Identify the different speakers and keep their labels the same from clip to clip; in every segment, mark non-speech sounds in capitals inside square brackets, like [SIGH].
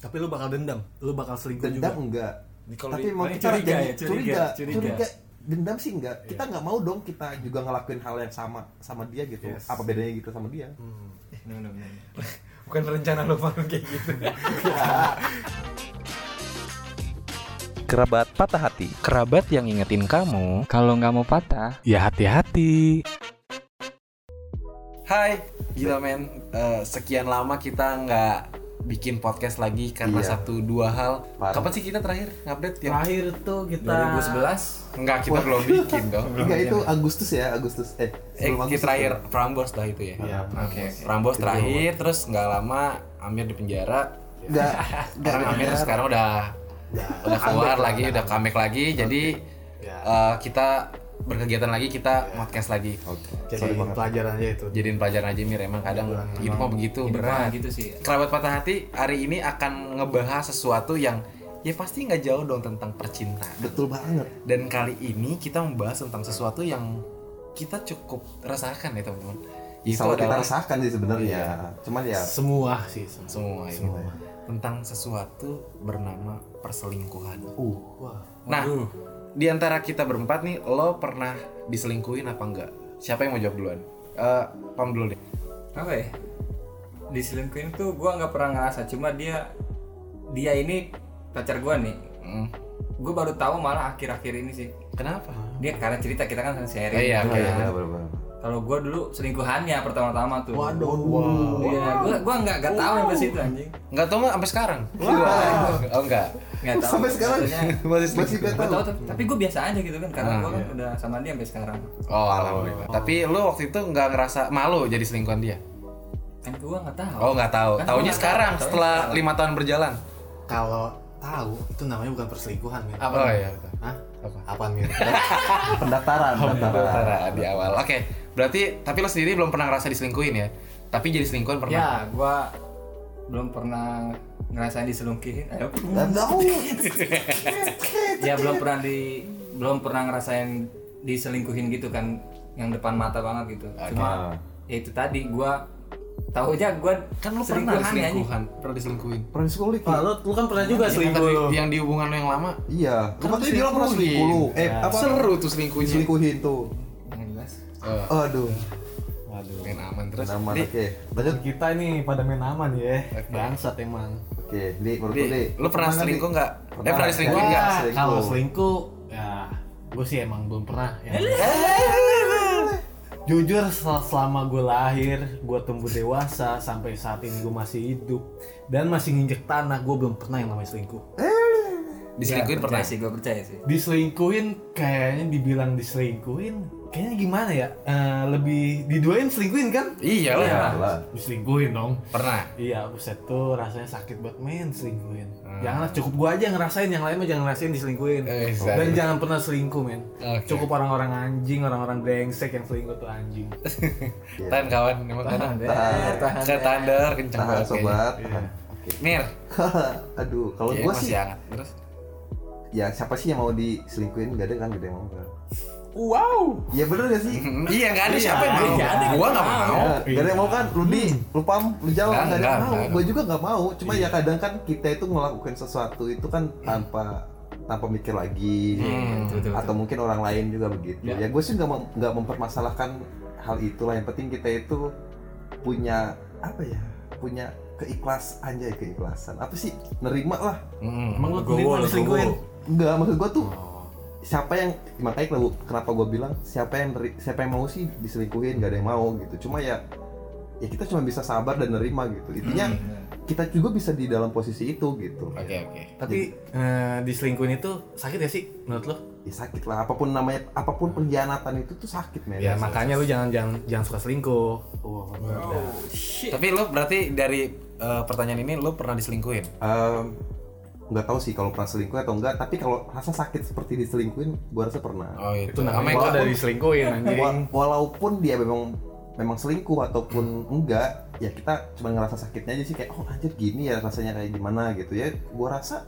Speaker 1: Tapi lu bakal dendam, lu bakal selingkuh
Speaker 2: dendam
Speaker 1: juga.
Speaker 2: enggak
Speaker 3: Kalau
Speaker 2: tapi
Speaker 3: di-
Speaker 2: mau
Speaker 3: baik
Speaker 2: kita
Speaker 3: curiga
Speaker 2: jadi-
Speaker 3: ya, curiga,
Speaker 2: curiga,
Speaker 3: curiga. Iya.
Speaker 2: dendam sih enggak kita nggak mau dong kita juga ngelakuin hal yang sama sama dia gitu
Speaker 3: Yes.
Speaker 2: apa bedanya gitu sama dia
Speaker 3: Hmm. No, no, no. Bukan rencana lo bangun kayak gitu.
Speaker 4: Kerabat patah hati.
Speaker 5: Kerabat yang ingetin kamu kalau nggak mau patah.
Speaker 4: Ya hati-hati.
Speaker 3: Hai, gila men. Eh, sekian lama kita nggak bikin podcast lagi karena
Speaker 2: Iya.
Speaker 3: satu dua hal.
Speaker 2: Parah.
Speaker 3: Kapan sih kita terakhir ngupdate yang
Speaker 1: Terakhir tuh kita
Speaker 3: 2011? Enggak, kita belum bikin
Speaker 2: [LAUGHS]
Speaker 3: dong.
Speaker 2: Iya, enggak itu Agustus ya Agustus eh
Speaker 3: Eh,
Speaker 2: sebelum
Speaker 3: kita
Speaker 2: Agustus
Speaker 3: terakhir Prambors lah itu ya.
Speaker 2: Iya,
Speaker 3: Oke,
Speaker 2: Prambors.
Speaker 3: Prambors
Speaker 2: Itu
Speaker 3: terakhir, terus nggak lama Amir di penjara. [LAUGHS]
Speaker 2: enggak enggak
Speaker 3: Sekarang Amir sekarang udah udah keluar lagi, udah comeback lagi. Jadi eh, kita berkegiatan lagi, kita podcast lagi.
Speaker 1: jadi pelajarannya itu.
Speaker 3: jadiin pelajaran aja Mir Iya, emang kadang hidup mah begitu berat
Speaker 6: gitu sih
Speaker 3: kerabat patah hati hari ini akan ngebahas sesuatu yang ya pasti nggak jauh dong tentang percintaan
Speaker 2: betul banget
Speaker 3: dan kali ini kita membahas tentang sesuatu yang kita cukup rasakan ya teman-teman itu
Speaker 2: selalu kita
Speaker 3: adalah
Speaker 2: rasakan sih sebenarnya
Speaker 3: Iya.
Speaker 2: cuman ya
Speaker 1: Semua sih semua.
Speaker 3: semua, ini.
Speaker 2: Semua.
Speaker 3: tentang sesuatu bernama perselingkuhan
Speaker 2: uh
Speaker 1: Wah.
Speaker 3: nah di antara kita berempat nih lo pernah diselingkuhin apa enggak siapa yang mau jawab duluan Eh, pam dulu deh
Speaker 6: apa ya diselingkuhin tuh gua nggak pernah ngerasa cuma dia dia ini pacar gua nih
Speaker 3: Mm.
Speaker 6: gue baru tahu malah akhir-akhir ini sih
Speaker 3: kenapa
Speaker 6: dia karena cerita kita kan sharing
Speaker 3: Eh, iya, oke.
Speaker 6: gitu ya.
Speaker 2: iya benar-benar
Speaker 6: kalau gue dulu selingkuhannya pertama-tama tuh
Speaker 1: Waduh.
Speaker 6: Iya, gue gua nggak nggak tahu sampai situ anjing.
Speaker 3: Nggak tahu nggak sampai sekarang? [LAUGHS] Oh enggak.
Speaker 6: Nggak tahu.
Speaker 2: sampai
Speaker 3: [LAUGHS]
Speaker 2: sekarang
Speaker 6: Maksudnya,
Speaker 2: masih masih kan? nggak
Speaker 6: gua
Speaker 2: tahu
Speaker 6: tahu tuh, tapi gue biasa aja gitu kan karena
Speaker 3: Ah,
Speaker 6: gue kan
Speaker 3: iya.
Speaker 6: udah sama dia sampai sekarang.
Speaker 3: Oh alhamdulillah. Tapi lu waktu itu nggak ngerasa malu jadi selingkuhan dia?
Speaker 6: Kan gue nggak tahu.
Speaker 3: Oh nggak tahu.
Speaker 6: Kan
Speaker 3: Taunya
Speaker 6: gua nggak
Speaker 3: sekarang
Speaker 6: tahu, taunya
Speaker 3: setelah
Speaker 6: sekarang.
Speaker 3: lima tahun berjalan.
Speaker 1: Kalau tahu itu namanya bukan perselingkuhan, Mir.
Speaker 3: Apa? Oh iya. betul.
Speaker 1: Hah?
Speaker 3: Apa?
Speaker 1: Apaan, [LAUGHS] Mir?
Speaker 2: pendaftaran pendaftaran
Speaker 3: Tara, ah, di awal. Oke. Berarti tapi lu sendiri belum pernah ngerasa diselingkuhin ya? Tapi jadi selingkuhan pernah.
Speaker 6: Ya, gue belum pernah ngerasain diselingkuhin. Ayo.
Speaker 2: Dan
Speaker 3: [LAUGHS]
Speaker 2: tahu
Speaker 6: ya belum pernah di belum pernah ngerasain diselingkuhin gitu kan yang depan mata banget gitu. Cuma ya itu tadi gue taunya gue
Speaker 3: Kan lu pernah
Speaker 6: selingkuhannya, anjing.
Speaker 3: diselingkuhan, pernah diselingkuhin.
Speaker 2: pernah sekolah
Speaker 1: Wah, lu, lu kan pernah juga
Speaker 3: Yang,
Speaker 1: selingkuh.
Speaker 3: tadi-
Speaker 1: lu.
Speaker 3: yang di hubungan lu yang lama
Speaker 2: iya
Speaker 3: Kan
Speaker 2: Lu katanya bilang pernah selingkuh lu eh apa
Speaker 3: Ya. Iya. seru tuh selingkuhnya.
Speaker 2: diselingkuhin tuh
Speaker 6: Yang jelas.
Speaker 3: Eh,
Speaker 2: aduh
Speaker 1: Waduh.
Speaker 3: main aman terus.
Speaker 2: nama
Speaker 3: Di,
Speaker 2: oke lanjut
Speaker 1: Kita ini pada main aman ya. Bangsat emang.
Speaker 2: oke di menurut
Speaker 3: Di,
Speaker 2: lu di
Speaker 3: lu pernah selingkuh nggak? Eh pernah diselingkuhin
Speaker 2: Wah.
Speaker 3: nggak?
Speaker 1: Wah,
Speaker 2: selingkuh.
Speaker 1: kalau selingkuh ya gue sih emang belum pernah ya. Jujur sel- selama gue lahir, gue tumbuh dewasa sampai saat ini gue masih hidup dan masih nginjek tanah, gue belum pernah yang namanya selingkuh.
Speaker 3: Diselingkuhin
Speaker 6: Ya,
Speaker 3: pernah. Iya,
Speaker 6: sih, gue percaya sih.
Speaker 1: Diselingkuhin kayaknya dibilang diselingkuhin, kayaknya gimana ya? Eh, lebih diduain selingkuhin kan?
Speaker 3: Iya
Speaker 2: Iya
Speaker 3: lah.
Speaker 2: lah.
Speaker 1: Diselingkuhin dong.
Speaker 3: Pernah.
Speaker 1: Iya, buset tuh rasanya sakit banget men selingkuhin. Janganlah cukup gua aja ngerasain, yang lain mah jangan ngerasain diselingkuhin.
Speaker 3: Eh,
Speaker 1: Dan
Speaker 3: sorry.
Speaker 1: jangan pernah selingkuh men.
Speaker 3: Oke.
Speaker 1: Cukup orang-orang anjing, orang-orang brengsek yang selingkuh tuh anjing.
Speaker 3: Tahan kawan, emang Eh, tahan. Ke tandar kenceng
Speaker 2: tahan
Speaker 3: banget. kayaknya.
Speaker 2: sobat Tahan.
Speaker 3: Mir,
Speaker 2: [LAUGHS] aduh kalau
Speaker 3: Iya,
Speaker 2: gua
Speaker 3: masih
Speaker 2: sih
Speaker 3: hangat. Terus [LAUGHS]
Speaker 2: ya siapa sih yang mau diselingkuhin gak ada kan gak ada yang mau kan wow ya bener gak sih
Speaker 3: Hmm, iya nggak ada siapa yang mau.
Speaker 6: nggak ada,
Speaker 3: Gua nggak mau.
Speaker 2: Ya, gak ada yang mau kan lu di lu pam lu jawab
Speaker 3: Nggak,
Speaker 2: gak ada yang
Speaker 3: nggak,
Speaker 2: mau
Speaker 3: nggak. Iya.
Speaker 2: gue juga gak mau cuma ya kadang kan kita itu ngelakuin sesuatu itu kan tanpa tanpa mikir
Speaker 3: Iya.
Speaker 2: lagi
Speaker 6: Betul, betul,
Speaker 2: atau
Speaker 6: betul.
Speaker 2: mungkin orang lain juga begitu ya, gue sih nggak mem- nggak mempermasalahkan hal itulah yang penting kita itu punya apa ya punya keikhlas anjay keikhlasan apa sih nerima lah
Speaker 3: Hmm.
Speaker 1: Emang lu
Speaker 6: Legowo,
Speaker 1: terima
Speaker 6: legowo.
Speaker 1: diselingkuhin?
Speaker 2: nggak maksud gue tuh siapa yang makanya kalau- kenapa gue bilang siapa yang neri- siapa yang mau sih diselingkuhin nggak ada yang mau gitu cuma ya ya kita cuma bisa sabar dan nerima gitu intinya kita juga bisa di dalam posisi itu gitu
Speaker 3: Oke oke.
Speaker 1: Tapi eh, diselingkuhin itu sakit ya sih menurut lo?
Speaker 2: ya sakit lah apapun namanya apapun pengkhianatan itu tuh Iya, sakit men
Speaker 1: Ya makanya lu jangan jangan jangan suka selingkuh. Oh,
Speaker 3: Tapi lu berarti dari eh, pertanyaan ini lu pernah diselingkuhin?
Speaker 2: Em, nggak tahu sih kalau pernah selingkuh atau enggak tapi kalau rasa sakit seperti diselingkuhin gua rasa pernah
Speaker 3: Oh itu.
Speaker 1: Itu namanya
Speaker 3: Ameng,
Speaker 1: gua
Speaker 3: gua-
Speaker 1: dari diselingkuhin anjing.
Speaker 2: Wa- walaupun dia memang memang selingkuh ataupun enggak ya kita cuma ngerasa sakitnya aja sih kayak oh anjir gini ya rasanya kayak gimana gitu ya gua rasa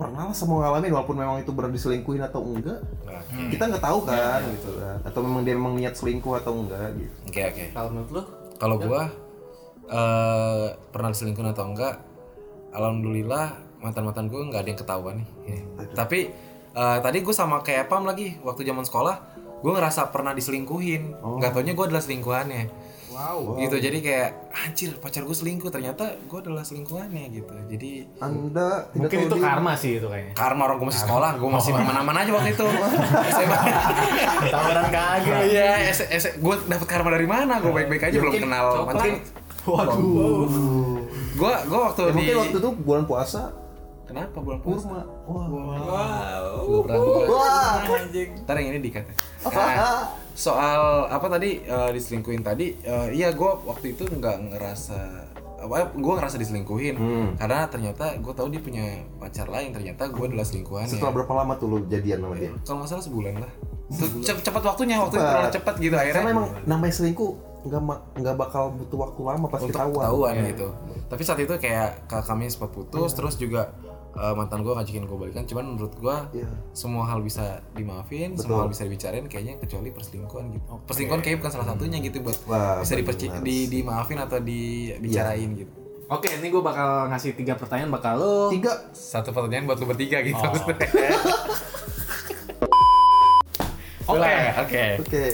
Speaker 2: pernah lah semua ngalamin walaupun memang itu benar diselingkuhin atau enggak
Speaker 3: Oke
Speaker 2: kita nggak tahu kan gitu kan. atau memang dia memang niat selingkuh atau enggak gitu
Speaker 3: oke oke. Ya.
Speaker 1: Kalau menurut lo?
Speaker 3: Kalau gua eh pernah diselingkuhin atau enggak? alhamdulillah mantan-mantan gue nggak ada yang ketahuan nih. Ya. Tapi eh, tadi gue sama kayak Pam lagi waktu zaman sekolah, gue ngerasa pernah diselingkuhin. Gak taunya gue adalah selingkuhannya. Oh. Wow. Gitu jadi kayak anjir pacar gue selingkuh ternyata gue adalah selingkuhannya gitu. Jadi
Speaker 2: Anda tidak
Speaker 1: Mungkin
Speaker 2: tahu
Speaker 1: itu
Speaker 2: diri.
Speaker 1: karma sih itu kayaknya.
Speaker 3: karma Oh. orang gue masih sekolah, gue masih aman-aman aja waktu [LAUGHS] itu. SMA.
Speaker 1: Tawaran
Speaker 2: Nah,
Speaker 1: kagak.
Speaker 3: Iya, S- S- gue dapet karma dari mana? Gue baik-baik aja belum kenal. Mungkin
Speaker 1: Waduh.
Speaker 3: gue gue waktu
Speaker 2: Ya,
Speaker 3: di
Speaker 2: mungkin waktu itu bulan puasa
Speaker 3: kenapa bulan puasa?
Speaker 2: kurma. Wah.
Speaker 3: Kurang gua.
Speaker 2: Wah.
Speaker 3: Ntar yang ini dikat. Nah, soal apa tadi eh, diselingkuhin tadi? eh, iya, gue waktu itu nggak ngerasa apa gue ngerasa diselingkuhin
Speaker 2: Hmm.
Speaker 3: karena ternyata gue tahu dia punya pacar lain ternyata gue adalah selingkuhannya
Speaker 2: Setelah berapa lama tuh lo jadian sama dia?
Speaker 3: kalau nggak salah sebulan lah Cep- cepat waktunya waktu itu
Speaker 2: Cepat.
Speaker 3: terlalu cepat gitu akhirnya
Speaker 2: Karena emang namanya selingkuh nggak ma- nggak bakal butuh waktu lama pasti
Speaker 3: untuk
Speaker 2: ketahuan.
Speaker 3: ketahuan
Speaker 1: Iya.
Speaker 3: gitu. Tapi saat itu kayak ka- kami sempat putus,
Speaker 2: Iya.
Speaker 3: terus juga eh, mantan gue ngajakin gue balikan. Cuman menurut gue
Speaker 2: Iya.
Speaker 3: semua hal bisa dimaafin, semua hal bisa dibicarain. Kayaknya kecuali perselingkuhan gitu.
Speaker 1: Oh,
Speaker 3: Perselingkuhan
Speaker 1: iya.
Speaker 3: kayaknya bukan salah satunya gitu buat
Speaker 2: Wah, Iya.
Speaker 3: bisa diperci- di- dimaafin atau dibicarain gitu.
Speaker 1: Oke, ini gue bakal ngasih tiga pertanyaan bakal lo.
Speaker 2: Tiga.
Speaker 3: Satu pertanyaan buat lu bertiga gitu.
Speaker 1: Oh.
Speaker 3: [LAUGHS] maksudnya.
Speaker 1: Oke.
Speaker 3: Oke.
Speaker 1: Eh.
Speaker 2: Oke.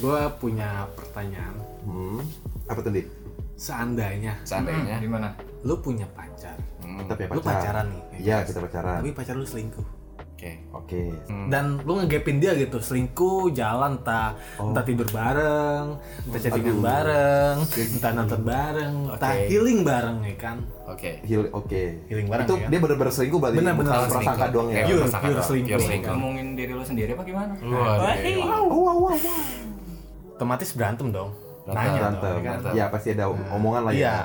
Speaker 1: Gue punya pertanyaan.
Speaker 2: Hmm. Apa tadi?
Speaker 1: Hmm. Seandainya
Speaker 3: Seandainya.
Speaker 1: Hmm.
Speaker 6: Di mana?
Speaker 1: lu punya pacar,
Speaker 3: Hmm,
Speaker 2: Tapi ya
Speaker 1: lu pacaran nih,
Speaker 2: Iya, kita pacaran.
Speaker 1: tapi Hmm. pacar lu selingkuh.
Speaker 3: Oke.
Speaker 2: Oke.
Speaker 3: Hmm.
Speaker 1: Dan lu ngegapin dia gitu, selingkuh, jalan entah
Speaker 3: Oh.
Speaker 1: entah tidur bareng, entah chattingan
Speaker 3: [LAUGHS]
Speaker 1: bareng, entah nonton bareng, entah
Speaker 3: gitu. Oke.
Speaker 1: healing bareng ya kan.
Speaker 3: Oke.
Speaker 2: Heal- Oke.
Speaker 1: Healing bareng
Speaker 2: Itu
Speaker 1: ya.
Speaker 2: dia benar-benar selingkuh berarti.
Speaker 1: Benar-benar
Speaker 2: bukan
Speaker 1: selingkuh. Iya.
Speaker 2: prasangka doang ya.
Speaker 3: Oke,
Speaker 1: Pure,
Speaker 3: prasangka
Speaker 1: pure
Speaker 3: doang,
Speaker 1: selingkuh.
Speaker 3: selingkuh.
Speaker 6: Ngomongin diri lu sendiri apa gimana?
Speaker 3: Waduh, iya.
Speaker 1: Otomatis berantem dong.
Speaker 3: Berantem,
Speaker 1: Nanya dong,
Speaker 2: Berantem.
Speaker 1: ya kan?
Speaker 2: Ya pasti ada omongan lah ya.
Speaker 1: Iya.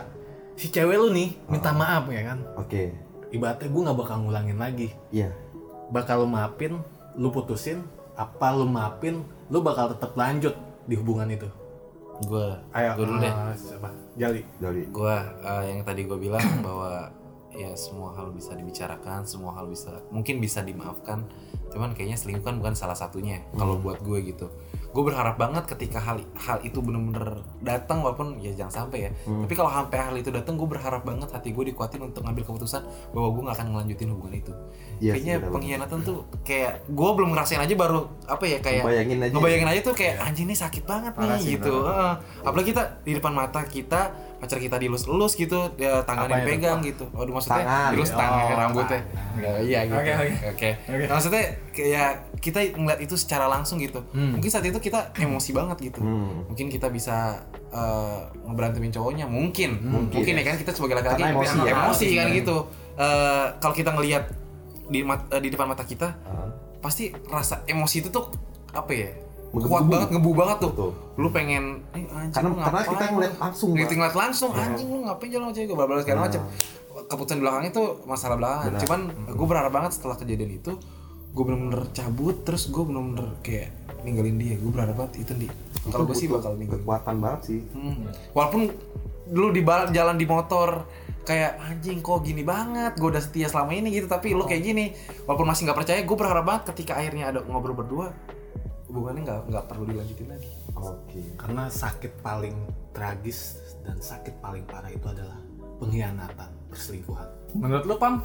Speaker 1: Si cewek lu nih minta
Speaker 3: Oh.
Speaker 1: maaf ya kan.
Speaker 2: Oke.
Speaker 1: Ibaratnya gue nggak bakal ngulangin lagi.
Speaker 2: Iya.
Speaker 1: Bakal lu maafin, lu putusin, apa lu maafin, lu bakal tetap lanjut di hubungan itu.
Speaker 3: Gue.
Speaker 1: Ayo,
Speaker 3: Gue dulu deh.
Speaker 1: eh, siapa? Jali.
Speaker 2: Dari
Speaker 3: gua eh, yang tadi gua bilang [CLEARS THROAT] bahwa ya semua hal bisa dibicarakan semua hal bisa mungkin bisa dimaafkan cuman kayaknya selingkuh kan bukan salah satunya kalau
Speaker 2: Hmm.
Speaker 3: buat gue gitu gue berharap banget ketika hal hal itu bener-bener datang walaupun ya jangan sampai ya
Speaker 2: Hmm.
Speaker 3: tapi kalau sampai hal itu datang gue berharap banget hati gue dikuatin untuk ngambil keputusan bahwa gue gak akan ngelanjutin hubungan itu
Speaker 2: Iya sih,
Speaker 3: kayaknya
Speaker 2: benar-benar.
Speaker 3: pengkhianatan tuh kayak gue belum ngerasain aja baru apa ya kayak
Speaker 2: Ngebayangin aja.
Speaker 3: ngebayangin aja tuh kayak anjing ini sakit banget nih gitu Heeh. apalagi kita di depan mata kita pacar kita dilus-lus gitu ya, tangan
Speaker 1: Apanya
Speaker 3: dipegang gitu aduh maksudnya
Speaker 2: Tangan.
Speaker 3: dilus tangan rambutnya Ya, iya gitu
Speaker 6: Oke, oke.
Speaker 3: Oke. Nah, maksudnya kayak kita ngeliat itu secara langsung gitu mungkin saat itu kita emosi banget gitu mungkin kita bisa eh, ngeberantemin cowoknya mungkin mungkin, ya kan kita sebagai laki-laki
Speaker 2: Karena emosi ya.
Speaker 3: emosi kan gitu Eh, kalau kita ngelihat di mat- eh, di depan mata kita pasti rasa emosi itu tuh apa ya kuat
Speaker 2: Menggebu.
Speaker 3: banget ngebu banget tuh
Speaker 2: Betul.
Speaker 3: lu pengen eh, anjing
Speaker 2: Karena-
Speaker 3: lu
Speaker 2: karena
Speaker 3: ngapain
Speaker 2: kita ngeliat
Speaker 3: lu?"
Speaker 2: langsung, Iya. Nah.
Speaker 3: Gitu,
Speaker 2: Bang.
Speaker 3: ngeliat langsung anjing lu ngapain jalan sama cewek bla bla segala macam keputusan di belakang itu masalah belakangan cuman gue berharap banget setelah kejadian itu gue bener-bener cabut terus gue bener-bener kayak ninggalin dia gue berharap banget itu nih kalau gue sih bakal ninggalin
Speaker 2: kekuatan banget sih.
Speaker 3: Hmm. Walaupun lu di bal- jalan di motor kayak anjing kok gini banget, gue udah setia selama ini gitu, tapi lu kayak gini, walaupun masih nggak percaya, gue berharap banget ketika akhirnya ada ngobrol berdua, hubungannya nggak nggak perlu dilanjutin lagi.
Speaker 2: Oke.
Speaker 1: Karena sakit paling tragis dan sakit paling parah itu adalah pengkhianatan, perselingkuhan.
Speaker 6: Menurut lu Pam?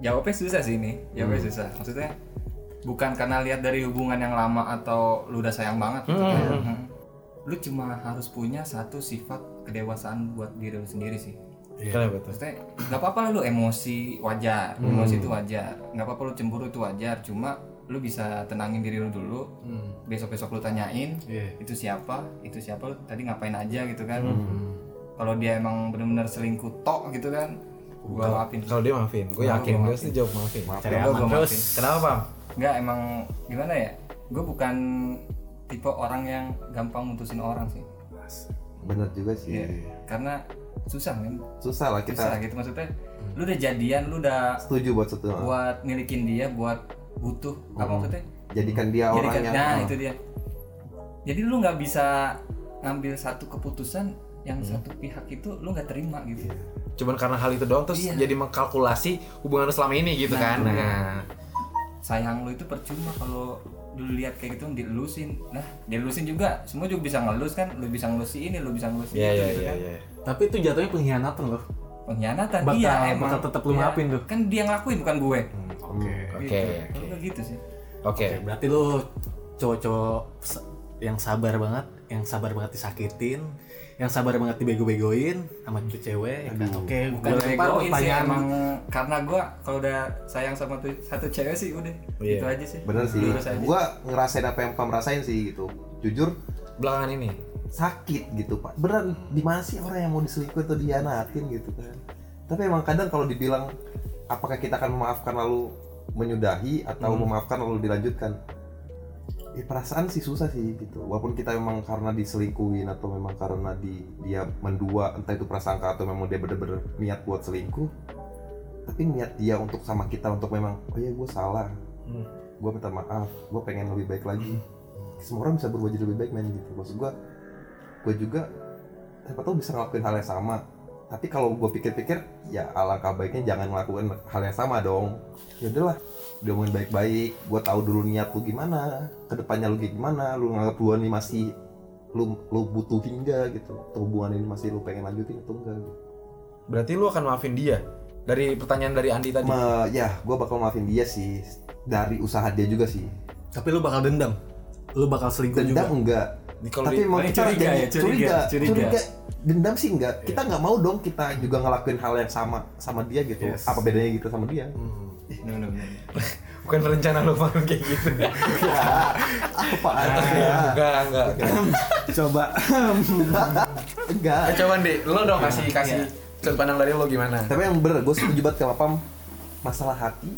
Speaker 6: Jawabnya susah sih ini. Jawabnya susah. Maksudnya bukan karena lihat dari hubungan yang lama atau lu udah sayang banget gitu. Hmm. Lu cuma harus punya satu sifat kedewasaan buat diri lu sendiri sih.
Speaker 3: Iya betul.
Speaker 6: Maksudnya nggak apa-apa lah lu emosi wajar, emosi itu wajar. Nggak apa-apa lu cemburu itu wajar. Cuma lu bisa tenangin diri lu dulu. Besok-besok lu tanyain
Speaker 1: Iya.
Speaker 6: itu siapa, itu siapa lu tadi ngapain aja gitu kan. Kalau dia emang benar-benar selingkuh tok gitu kan, gua maafin.
Speaker 3: Kalau dia maafin, gue yakin gue sih jawab maafin.
Speaker 1: Cari
Speaker 6: Gua-
Speaker 1: aman
Speaker 6: gua
Speaker 1: terus.
Speaker 6: maafin.
Speaker 3: Kenapa pam?
Speaker 6: Nggak emang gimana ya? Gue bukan tipe orang yang gampang mutusin orang sih.
Speaker 2: Bener juga sih.
Speaker 1: Iya.
Speaker 6: Karena susah kan.
Speaker 2: Susah lah Iya. kita
Speaker 6: Susah gitu maksudnya. Lu udah jadian, lu udah
Speaker 2: setuju buat satu
Speaker 6: buat milikin dia, buat butuh apa maksudnya?
Speaker 2: jadikan dia
Speaker 6: Jadi
Speaker 2: orang
Speaker 6: kan-
Speaker 2: yang oh.
Speaker 6: nah itu dia. Jadi lu nggak bisa ngambil satu keputusan yang satu pihak itu lu nggak terima gitu.
Speaker 3: Cuman karena hal itu doang terus jadi mengkalkulasi hubungan lu selama ini gitu kan. Iya. Nah,
Speaker 6: sayang lu itu percuma kalau lu lihat kayak gitu dilusin nah dilusin juga semua juga bisa ngelus kan lu bisa ngelus ini lu bisa ngelus
Speaker 3: iya
Speaker 6: itu
Speaker 3: iya
Speaker 6: gitu
Speaker 3: iya.
Speaker 6: kan
Speaker 3: iya.
Speaker 1: Tapi itu jatuhnya pengkhianatan loh.
Speaker 6: pengkhianatan
Speaker 1: Bakal-
Speaker 6: iya
Speaker 1: bakal
Speaker 6: emang
Speaker 1: tetep lu
Speaker 6: Iya.
Speaker 1: maafin tuh.
Speaker 6: kan dia ngelakuin bukan gue
Speaker 2: Hmm.
Speaker 1: Oke.
Speaker 3: Oke,
Speaker 6: Gitu.
Speaker 3: oke.
Speaker 6: Gua gitu sih
Speaker 3: Oke.
Speaker 1: Oke, berarti lu cowok-cowok s- yang sabar banget, yang sabar banget disakitin, yang sabar banget dibego-begoin sama tuh cewek. kan Oke,
Speaker 6: bukan
Speaker 1: gue lempar
Speaker 6: begoin sih
Speaker 1: pertanyaan
Speaker 6: emang karena gue kalau udah sayang sama tuh, satu cewek sih udah
Speaker 1: Oh
Speaker 3: Iya.
Speaker 6: gitu aja sih
Speaker 2: bener sih
Speaker 6: Lurus aja.
Speaker 2: gua ngerasain apa yang kamu rasain sih gitu jujur
Speaker 3: Belakangan ini.
Speaker 2: sakit gitu pak beneran di mana sih orang yang mau diselingkuh atau dihianatin gitu kan tapi emang kadang kalau dibilang apakah kita akan memaafkan lalu menyudahi atau memaafkan lalu dilanjutkan ya perasaan sih susah sih gitu walaupun kita memang karena diselingkuhin atau memang karena di dia mendua entah itu prasangka atau memang dia bener-bener niat buat selingkuh tapi niat dia untuk sama kita untuk memang oh ya gue salah
Speaker 1: Hmm.
Speaker 2: gue minta maaf gue pengen lebih baik lagi semua orang bisa berubah jadi lebih baik men gitu maksud gue gue juga siapa tahu bisa ngelakuin hal yang sama tapi kalau gue pikir-pikir ya alangkah baiknya jangan ngelakuin hal yang sama dong ya udahlah diomongin baik-baik gue tahu dulu niat lu gimana kedepannya lu kayak gimana lu nganggap hubungan ini masih lu lu butuhin nggak gitu atau hubungan ini masih lu pengen lanjutin atau enggak gitu.
Speaker 3: Berarti lu akan maafin dia? Dari pertanyaan dari Andi tadi.
Speaker 2: Ma- ya gue bakal maafin dia sih dari usaha dia juga sih
Speaker 1: Tapi lu bakal dendam. Lu bakal selingkuh
Speaker 2: dendam
Speaker 1: juga.
Speaker 2: enggak
Speaker 3: Di- kalau
Speaker 2: tapi
Speaker 3: di-
Speaker 2: mau
Speaker 6: paling
Speaker 2: kita
Speaker 6: curiga
Speaker 2: jadi-
Speaker 6: ya, curiga,
Speaker 2: curiga,
Speaker 6: curiga.
Speaker 2: dendam sih enggak kita nggak mau dong kita juga ngelakuin hal yang sama sama dia gitu
Speaker 1: Yes.
Speaker 2: apa bedanya gitu sama dia
Speaker 6: Bener, bener, bener.
Speaker 3: bukan rencana lu bangun kayak [LAUGHS] gitu.
Speaker 2: Ya. apa ya
Speaker 3: enggak, enggak.
Speaker 1: Coba
Speaker 2: enggak
Speaker 3: Eh, coba deh, lu dong kasih kasih sudut pandang dari lu gimana?
Speaker 2: tapi yang bener gue setuju banget sama Pam masalah hati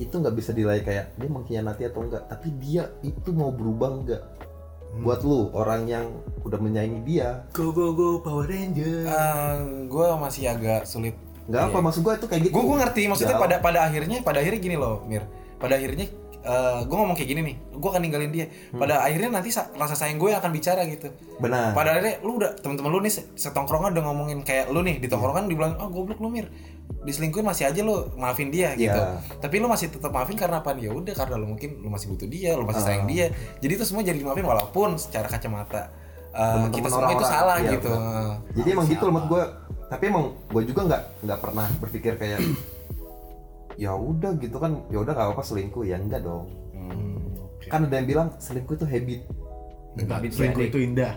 Speaker 2: itu nggak bisa dilai kayak dia mengkhianati atau enggak tapi dia itu mau berubah enggak buat lu orang yang udah menyayangi dia
Speaker 1: go go go Power Ranger.
Speaker 3: gue Eh, masih agak sulit.
Speaker 2: nggak
Speaker 3: Iya.
Speaker 2: apa maksud gue itu kayak gitu
Speaker 3: Gue ngerti maksudnya
Speaker 2: Jauh.
Speaker 3: pada pada akhirnya pada akhirnya gini loh, Mir. Pada akhirnya gue ngomong kayak gini nih, gue akan ninggalin dia. Pada akhirnya nanti sa- rasa sayang gue akan bicara gitu.
Speaker 2: benar
Speaker 3: Pada akhirnya lu udah teman-teman lu nih se- setongkrongan udah ngomongin kayak lu nih di tongkrongan dibilang oh goblok lu mir diselingkuhin masih aja lu maafin dia gitu.
Speaker 2: Iya.
Speaker 3: Tapi lu masih tetap maafin karena apa? Ya udah karena lu mungkin lu masih butuh dia, lu masih sayang dia. Jadi itu semua jadi maafin walaupun secara kacamata uh,
Speaker 2: Temen-temen
Speaker 3: kita semua itu
Speaker 2: orang-orang,
Speaker 3: salah
Speaker 2: iya,
Speaker 3: gitu.
Speaker 2: benar. jadi emang gitu loh menurut gue tapi emang gue juga nggak nggak pernah berpikir kayak ya udah gitu kan ya udah nggak apa-apa selingkuh ya enggak dong
Speaker 3: Hmm.
Speaker 2: kan ada yang bilang selingkuh itu habit
Speaker 1: Enggak,
Speaker 6: Habit
Speaker 1: selingkuh
Speaker 6: gading.
Speaker 1: itu indah.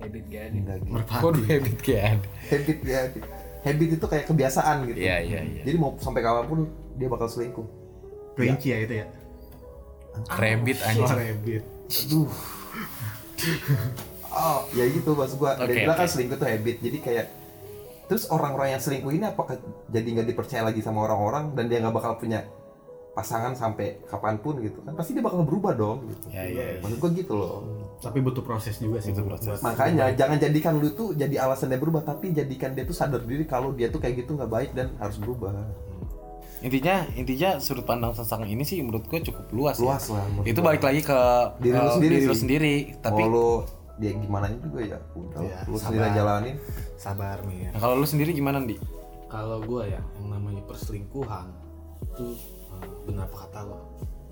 Speaker 6: Habit gak ada.
Speaker 2: enggak
Speaker 3: Hmm.
Speaker 2: gitu
Speaker 1: Merpati.
Speaker 3: Waduh habit kan.
Speaker 2: habit ya habit itu kayak kebiasaan gitu
Speaker 3: Iya iya iya.
Speaker 2: jadi mau sampai kapanpun dia bakal selingkuh
Speaker 1: Kelinci ya itu ya.
Speaker 3: Rabbit anjing. Iya,
Speaker 1: rabbit.
Speaker 2: aduh oh ya gitu maksud gua
Speaker 3: Oke,
Speaker 2: dia bilang kan
Speaker 3: oke.
Speaker 2: selingkuh tuh habit jadi kayak terus orang-orang yang selingkuh ini apakah jadi nggak dipercaya lagi sama orang-orang dan dia nggak bakal punya pasangan sampai kapanpun gitu kan pasti dia bakal berubah dong gitu.
Speaker 3: Ya, iya, iya.
Speaker 2: maksud gua gitu loh
Speaker 1: Tapi butuh proses juga sih.
Speaker 3: Butuh
Speaker 1: buat-
Speaker 3: proses.
Speaker 1: buat-
Speaker 2: makanya jangan jadikan lu tuh jadi alasan dia berubah tapi jadikan dia tuh sadar diri kalau dia tuh kayak gitu nggak baik dan harus berubah
Speaker 3: Intinya intinya sudut pandang tentang ini sih menurut gue cukup luas. ya.
Speaker 2: luas lah menurut
Speaker 3: Itu
Speaker 2: gua.
Speaker 3: balik lagi ke
Speaker 2: Diri lu
Speaker 3: uh,
Speaker 2: sendiri.
Speaker 3: diri lu sendiri. Tapi
Speaker 2: mau lu dia gimana juga ya udah
Speaker 1: Iya,
Speaker 2: lu sendiri
Speaker 1: sabar.
Speaker 2: jalanin
Speaker 1: Sabar nih ya.
Speaker 3: Nah, kalau lu sendiri gimana, Di?
Speaker 1: kalau gue ya yang namanya perselingkuhan itu eh, benar apa kata lo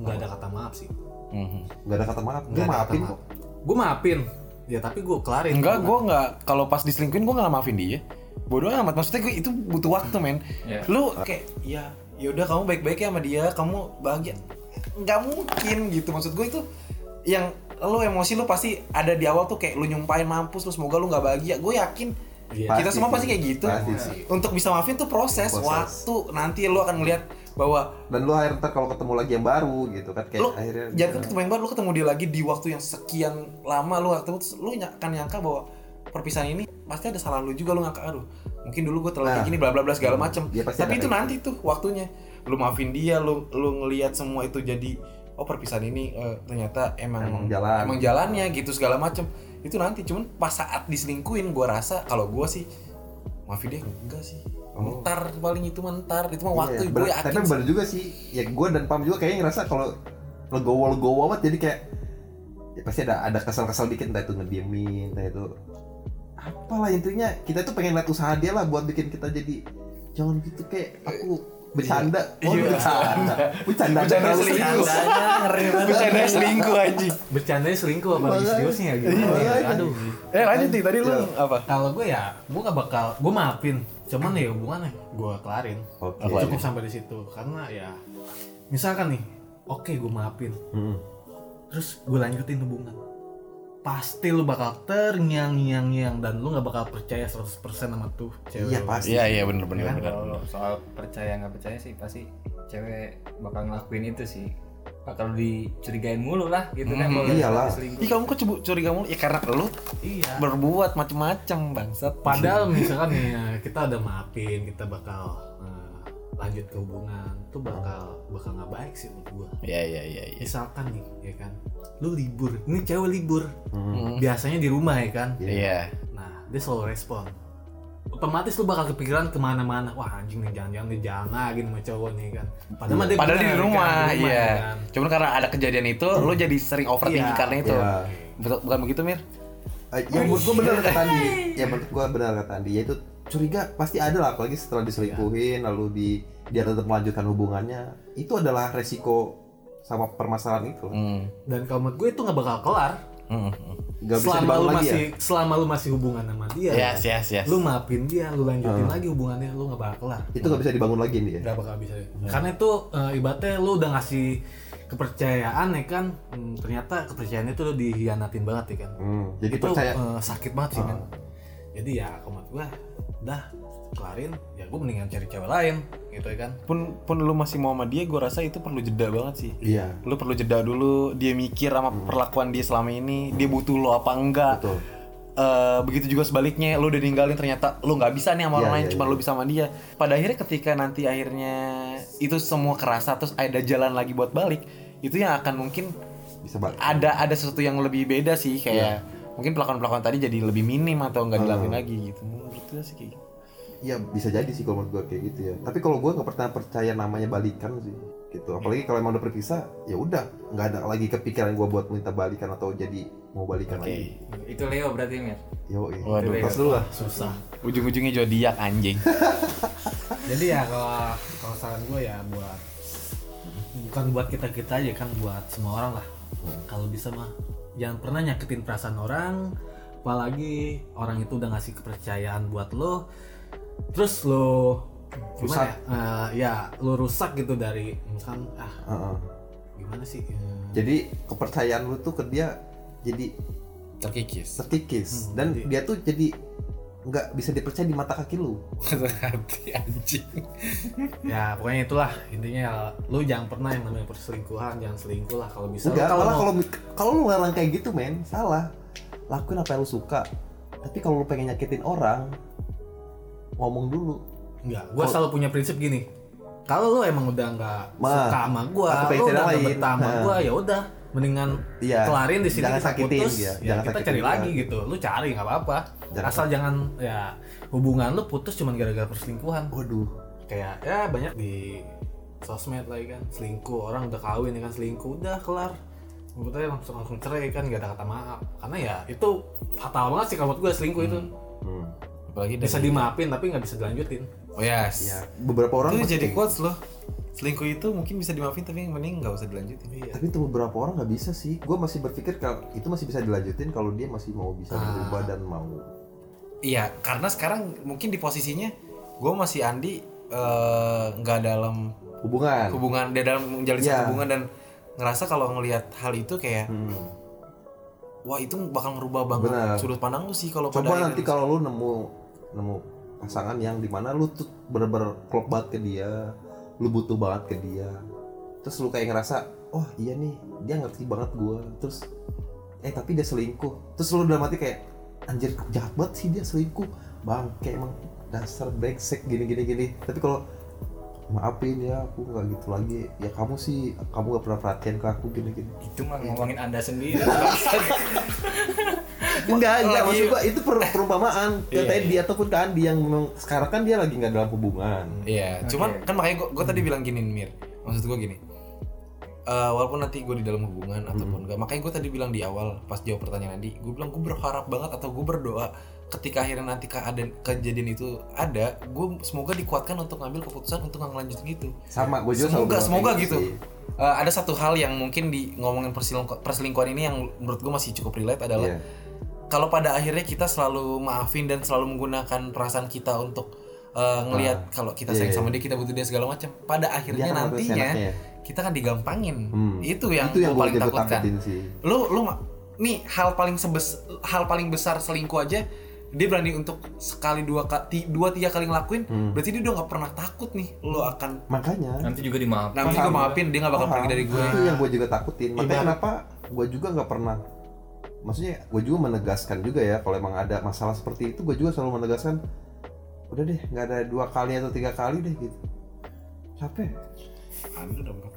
Speaker 1: nggak ada kata maaf sih
Speaker 3: Mhm.
Speaker 2: nggak ada kata maaf
Speaker 1: Nggak
Speaker 2: dia
Speaker 1: ada kata
Speaker 2: maafin
Speaker 1: maaf.
Speaker 2: kok
Speaker 1: gue maafin ya tapi gue kelarin
Speaker 3: Enggak, gue nggak. Kalau pas diselingkuhin gue nggak maafin dia. Bodoh amat. Maksudnya gue itu butuh waktu, men.
Speaker 6: Iya.
Speaker 3: Lu kayak, ya, yaudah kamu baik-baik ya sama dia, kamu bahagia. Nggak mungkin gitu. Maksud gue itu yang lu emosi lu pasti ada di awal tuh kayak lu nyumpahin mampus lu semoga lu nggak bahagia. Gue yakin
Speaker 1: Iya.
Speaker 3: kita
Speaker 2: Pasti
Speaker 3: semua
Speaker 2: sih.
Speaker 3: pasti kayak gitu.
Speaker 2: Pasti sih.
Speaker 3: Untuk bisa maafin tuh proses,
Speaker 2: Proses.
Speaker 3: waktu. Nanti lu akan ngeliat bahwa
Speaker 2: dan lu akhirnya ntar kalau ketemu lagi yang baru gitu kan kayak
Speaker 3: lu
Speaker 2: akhirnya
Speaker 3: jadi kan ketemu yang baru lu ketemu dia lagi di waktu yang sekian lama lu ketemu terus lu ny- akan nyangka bahwa perpisahan ini pasti ada salah lu juga lu ngangka aduh mungkin dulu gue terlalu kayak
Speaker 2: Nah.
Speaker 3: gini bla bla bla segala macem
Speaker 2: Dia pasti ada
Speaker 3: tapi itu
Speaker 2: kayak gitu.
Speaker 3: nanti tuh waktunya lu maafin dia lu lu ngelihat semua itu jadi oh perpisahan ini eh, ternyata emang
Speaker 2: Emang jalan.
Speaker 3: emang jalannya gitu segala macem itu nanti cuman pas saat diselingkuin gua rasa kalau gua sih maafin dia enggak sih
Speaker 2: Oh.
Speaker 3: mentar paling itu mentar itu mah
Speaker 2: Iya,
Speaker 3: Oh, waktu
Speaker 2: bener.
Speaker 3: gue yakin
Speaker 2: tapi
Speaker 3: sih.
Speaker 2: bener juga sih ya gue dan Pam juga kayaknya ngerasa kalau legowo legowo amat jadi kayak ya pasti ada ada kesel kesel dikit entah itu ngediemin entah itu apalah intinya kita tuh pengen lihat usaha dia lah buat bikin kita jadi jangan gitu kayak aku bercanda oh
Speaker 3: Iya.
Speaker 2: bercanda bercanda
Speaker 3: Bercanda
Speaker 2: terlalu
Speaker 3: selingkuh.
Speaker 2: serius
Speaker 3: ngeri banget. Bercanda selingkuh anjing.
Speaker 1: Bercandanya selingkuh apa lagi
Speaker 2: Makanya.
Speaker 1: seriusnya gitu.
Speaker 2: Iya.
Speaker 1: Aduh.
Speaker 3: Kan?
Speaker 7: Eh lanjut nih tadi lu
Speaker 2: Iya.
Speaker 7: apa?
Speaker 1: Kalau gue ya, gue gak bakal, gue maafin. Cuman ya hubungannya, gue kelarin.
Speaker 2: oke
Speaker 1: Cukup sampai di situ. Karena ya, misalkan nih, oke gue maafin.
Speaker 2: Hmm.
Speaker 1: Terus gue lanjutin hubungan. Pasti lu bakal terngiang-ngiang-ngiang dan lu gak bakal percaya 100% sama tuh cewek.
Speaker 2: iya
Speaker 1: lu.
Speaker 2: pasti
Speaker 3: Iya iya bener bener
Speaker 6: Nah,
Speaker 3: bener.
Speaker 6: kalau soal percaya nggak percaya sih pasti cewek bakal ngelakuin itu sih bakal dicurigain mulu lah gitu kan
Speaker 3: Hmm,
Speaker 6: kalau
Speaker 2: iyalah.
Speaker 6: selingkuh
Speaker 3: Ih kamu kok cebu- curiga mulu? Ya karena lu
Speaker 1: Iya.
Speaker 3: berbuat macem-macem bangsat. [LAUGHS]
Speaker 1: Padahal misalkan nih ya, kita udah maafin, kita bakal eh, lanjut ke hubungan, tuh bakal bakal nggak baik sih menurut gua.
Speaker 3: Iya iya iya iya.
Speaker 1: Misalkan nih, ya kan, lu libur, ini cewek libur,
Speaker 2: Hmm.
Speaker 3: Hmm.
Speaker 1: biasanya di rumah ya kan.
Speaker 3: Iya.
Speaker 1: Nah, dia selalu respon. Otomatis lu bakal kepikiran kemana-mana. Wah anjing nih jangan-jangan dia jalan lagi sama cowok nih kan. Padahal, mah dia
Speaker 3: Padahal
Speaker 1: bener,
Speaker 3: di
Speaker 1: ya kan,
Speaker 3: rumah,
Speaker 1: di
Speaker 3: iya.
Speaker 1: ya kan.
Speaker 3: Cuman karena ada kejadian itu, lu jadi sering overthinking
Speaker 1: Iya.
Speaker 3: karena itu.
Speaker 2: Iya.
Speaker 3: Betul, bukan begitu Mir?
Speaker 2: Eh, yang menurut gue bener kata Andi ya menurut gue bener kata Andi yaitu curiga pasti ada lah apalagi setelah diselingkuhin lalu di dia tetap melanjutkan hubungannya itu adalah resiko sama permasalahan itu
Speaker 3: Hmm.
Speaker 1: Dan kalau menurut gue itu nggak bakal kelar.
Speaker 3: Hmm.
Speaker 2: Gak bisa
Speaker 1: selama lu
Speaker 2: dibangun lagi
Speaker 1: masih
Speaker 2: ya
Speaker 1: selama lu masih hubungan sama dia.
Speaker 3: Yes yes yes.
Speaker 1: lu maafin dia lu lanjutin
Speaker 2: Hmm.
Speaker 1: lagi hubungannya lu nggak bakal kelar
Speaker 2: itu gak bisa dibangun lagi
Speaker 3: Iya.
Speaker 2: nih ya
Speaker 1: nggak bakal bisa karena itu eh, ibaratnya lu udah ngasih kepercayaan ya kan Hmm, ternyata kepercayaan itu lu dihianatin banget ya kan
Speaker 2: Hmm, jadi
Speaker 1: itu
Speaker 2: percaya Ah.
Speaker 1: eh, sakit banget sih men jadi ya kalau menurut gua dah kelarin ya gua mendingan cari cewek lain gitu ya kan
Speaker 3: pun pun lu masih mau sama dia, gua rasa itu perlu jeda banget sih.
Speaker 2: iya
Speaker 3: Lu perlu jeda dulu, dia mikir sama perlakuan dia selama ini, dia butuh lo apa enggak.
Speaker 2: betul
Speaker 3: Eh, begitu juga sebaliknya lu udah ninggalin ternyata lu nggak bisa nih sama orang
Speaker 2: Iya,
Speaker 3: lain
Speaker 2: iya,
Speaker 3: cuma
Speaker 2: iya.
Speaker 3: lu bisa sama dia pada akhirnya ketika nanti akhirnya itu semua kerasa terus ada jalan lagi buat balik itu yang akan mungkin
Speaker 2: bisa banget
Speaker 3: ada ada sesuatu yang lebih beda sih kayak mungkin pelakuan-pelakuan tadi jadi lebih minim atau nggak dilakuin lagi gitu menurut gue sih kayak gitu.
Speaker 2: Iya bisa jadi sih kalau menurut gue kayak gitu ya. Tapi kalau gue nggak pernah percaya namanya balikan sih gitu. Apalagi kalau emang udah berpisah, ya udah nggak ada lagi kepikiran gue buat minta balikan atau jadi mau balikan
Speaker 3: Oke.
Speaker 2: lagi.
Speaker 6: itu Leo berarti Mir
Speaker 2: Yo, iya.
Speaker 3: Waduh.
Speaker 2: Terus dulu lah.
Speaker 1: susah
Speaker 3: ujung-ujungnya zodiak anjing
Speaker 1: jadi ya kalau kalau saran gue ya buat bukan buat kita kita aja kan buat semua orang lah kalau bisa mah jangan pernah nyakitin perasaan orang apalagi orang itu udah ngasih kepercayaan buat lo terus lo
Speaker 2: Rusak.
Speaker 1: gimana ya? Eh, ya lo rusak gitu dari misalkan ah
Speaker 2: Heeh.
Speaker 1: gimana sih Eh,
Speaker 2: Jadi kepercayaan lu tuh ke dia jadi
Speaker 3: terkikis
Speaker 2: terkikis
Speaker 1: Hmm,
Speaker 2: dan
Speaker 1: jadi-
Speaker 2: dia tuh jadi nggak bisa dipercaya di mata kaki lu.
Speaker 3: hati anjing
Speaker 1: ya pokoknya itulah intinya ya, lo jangan pernah yang namanya perselingkuhan jangan selingkuh lah kalau bisa Lo
Speaker 2: Enggak, malah
Speaker 1: mau-
Speaker 2: kalau kalau lu ngarang kayak gitu men, salah. Lakuin apa yang lu suka. Tapi kalau lu pengen nyakitin orang, ngomong dulu.
Speaker 1: Enggak, gua
Speaker 2: Kalau-
Speaker 1: selalu punya prinsip gini. Kalau lu emang udah nggak
Speaker 2: Ma,
Speaker 1: suka sama gua,
Speaker 2: aku
Speaker 1: lu
Speaker 2: pengen cari
Speaker 1: udah nggak
Speaker 2: lain.
Speaker 1: betah sama
Speaker 2: Ha.
Speaker 1: gua, ya udah mendingan
Speaker 2: Iya,
Speaker 1: kelarin di sini
Speaker 2: jangan
Speaker 1: kita
Speaker 2: sakitin
Speaker 1: putus,
Speaker 2: dia,
Speaker 1: ya
Speaker 2: jangan
Speaker 1: kita
Speaker 2: sakitin
Speaker 1: cari
Speaker 2: dia.
Speaker 1: lagi gitu. Lu cari nggak apa-apa.
Speaker 2: Jangan
Speaker 1: Asal jangan ya hubungan lu putus cuman gara-gara perselingkuhan.
Speaker 2: Waduh,
Speaker 1: Kayak ya banyak di sosmed lagi kan selingkuh orang udah kawin ya kan selingkuh udah kelar Maksudnya langsung langsung cerai kan gak ada kata maaf karena ya itu fatal banget sih kalau buat gue selingkuh itu
Speaker 2: Hmm.
Speaker 3: apalagi dari
Speaker 1: bisa dimaafin tapi nggak bisa dilanjutin
Speaker 3: oh yes
Speaker 2: ya beberapa orang
Speaker 3: itu
Speaker 2: masih
Speaker 3: jadi
Speaker 2: kayak
Speaker 3: quotes loh selingkuh itu mungkin bisa dimaafin tapi yang mending nggak usah dilanjutin
Speaker 2: gitu. tapi itu beberapa orang nggak bisa sih gue masih berpikir kalau itu masih bisa dilanjutin kalau dia masih mau bisa berubah dan mau
Speaker 3: Iya, karena sekarang mungkin di posisinya gue masih Andi eh, nggak dalam
Speaker 2: hubungan
Speaker 3: hubungan, dia dalam menjalin
Speaker 2: Iya.
Speaker 3: satu hubungan dan ngerasa kalau ngelihat hal itu kayak
Speaker 2: Hmm.
Speaker 3: wah itu bakal ngerubah banget
Speaker 2: Benar.
Speaker 3: sudut pandang lu sih kalau
Speaker 2: coba
Speaker 3: pada
Speaker 2: nanti kalau lu nemu nemu pasangan yang dimana lu tuh bener-bener klop banget ke dia lu butuh banget ke dia terus lu kayak ngerasa oh iya nih dia ngerti banget gue terus eh tapi dia selingkuh terus lu dalam hati kayak anjir jahat banget sih dia selingkuh bang kayak emang dasar brengsek gini gini gini tapi kalau maafin ya aku nggak gitu lagi ya kamu sih kamu gak pernah perhatian ke aku gini gini
Speaker 6: itu mah
Speaker 1: Iya.
Speaker 6: ngomongin anda sendiri
Speaker 2: enggak enggak
Speaker 3: lagi- Iya,
Speaker 2: maksud gua itu per- perumpamaan yang tadi dia ataupun ke Andi yang memang sekarang kan dia lagi nggak dalam hubungan
Speaker 3: Iya, cuman kan makanya gue tadi bilang gini Mir, maksud gue gini, eh, walaupun nanti gue di dalam hubungan ataupun enggak makanya gue tadi bilang di awal pas jawab pertanyaan Andi gue bilang gue berharap banget atau gue berdoa ketika akhirnya nanti keadaan kejadian itu ada gue semoga dikuatkan untuk ngambil keputusan untuk ngelanjutin itu
Speaker 2: sama gue juga selalu
Speaker 3: semoga
Speaker 2: bilang
Speaker 3: semoga
Speaker 2: kayak
Speaker 3: gitu Eh, ada satu hal yang mungkin di ngomongin perselingkuh- perselingkuhan ini yang menurut gue masih cukup relate adalah
Speaker 2: Iya.
Speaker 3: kalau pada akhirnya kita selalu maafin dan selalu menggunakan perasaan kita untuk eh, ngelihat kalau kita sayang
Speaker 2: iya,
Speaker 3: sama dia kita butuh dia segala macam pada akhirnya
Speaker 2: Dia akan ngelakuin
Speaker 3: nantinya
Speaker 2: seenaknya ya.
Speaker 3: kita kan digampangin
Speaker 2: Hmm.
Speaker 3: itu yang,
Speaker 2: itu yang
Speaker 3: gua
Speaker 2: gue
Speaker 3: paling
Speaker 2: juga
Speaker 3: takutkan
Speaker 2: takutin sih
Speaker 3: lu lu ma- nih hal paling sebes hal paling besar selingkuh aja dia berani untuk sekali dua ka- ti- dua tiga kali ngelakuin
Speaker 2: Hmm.
Speaker 3: berarti dia udah nggak pernah takut nih lu akan
Speaker 2: makanya
Speaker 6: nanti juga
Speaker 1: Nah.
Speaker 6: dimaafkan
Speaker 3: namanya juga
Speaker 2: Paham.
Speaker 3: maafin dia nggak bakal
Speaker 2: Paham.
Speaker 3: pergi dari gue
Speaker 2: itu yang gue juga takutin makanya kenapa gue juga nggak pernah maksudnya gue juga menegaskan juga ya kalau emang ada masalah seperti itu gue juga selalu menegaskan udah deh nggak ada dua kali atau tiga kali deh gitu capek